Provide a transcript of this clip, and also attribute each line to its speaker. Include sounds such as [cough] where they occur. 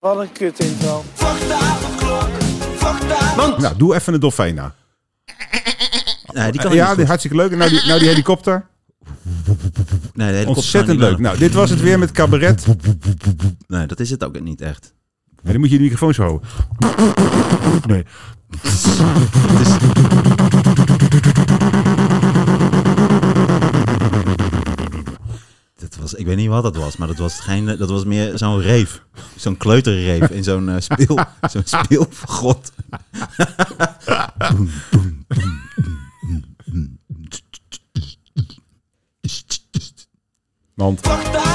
Speaker 1: Wat een kut intro.
Speaker 2: Nou, doe even een dolfijn na.
Speaker 3: Nee, die kan
Speaker 2: Oh, ja,
Speaker 3: niet
Speaker 2: die,
Speaker 3: goed.
Speaker 2: hartstikke leuk. En Nou, die, nou die helikopter.
Speaker 3: Nee, de helikopter
Speaker 2: Ontzettend
Speaker 3: kan
Speaker 2: leuk.
Speaker 3: niet
Speaker 2: Nou, dit was het weer met cabaret.
Speaker 3: bellen. Nee, dat is het ook niet echt.
Speaker 2: En dan moet je de microfoon zo houden. Nee.
Speaker 3: Het is, dat was, ik weet niet wat dat was, maar dat was, geen, dat was meer zo'n reef. Zo'n kleuterreef in zo'n eh, speel.
Speaker 2: [laughs]
Speaker 3: Zo'n speelvergod.
Speaker 2: Want
Speaker 4: Fuck the